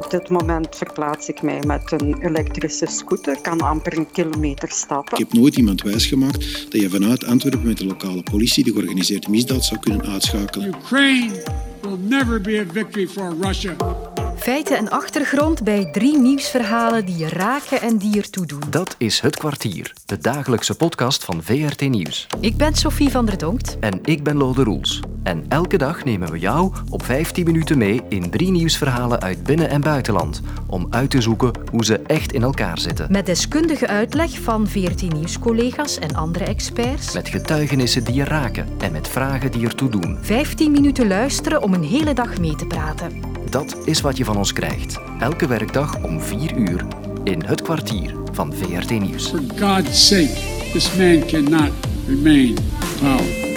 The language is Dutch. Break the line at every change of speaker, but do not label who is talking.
Op dit moment verplaats ik mij met een elektrische scooter, kan amper een kilometer stappen.
Ik heb nooit iemand wijsgemaakt dat je vanuit Antwerpen met de lokale politie de georganiseerde misdaad zou kunnen uitschakelen.
Ukraine will never be a victory for Russia.
Feiten en achtergrond bij drie nieuwsverhalen die je raken en die ertoe doen.
Dat is Het Kwartier, de dagelijkse podcast van VRT Nieuws.
Ik ben Sophie van der Donkt.
En ik ben Lode Roels. En elke dag nemen we jou op 15 minuten mee in drie nieuwsverhalen uit binnen- en buitenland. Om uit te zoeken hoe ze echt in elkaar zitten.
Met deskundige uitleg van VRT Nieuws-collega's en andere experts.
Met getuigenissen die je raken en met vragen die ertoe doen.
15 minuten luisteren om een hele dag mee te praten.
Dat is wat je van ons krijgt. Elke werkdag om 4 uur in Het Kwartier van VRT Nieuws.
For God's sake, this man cannot remain in power.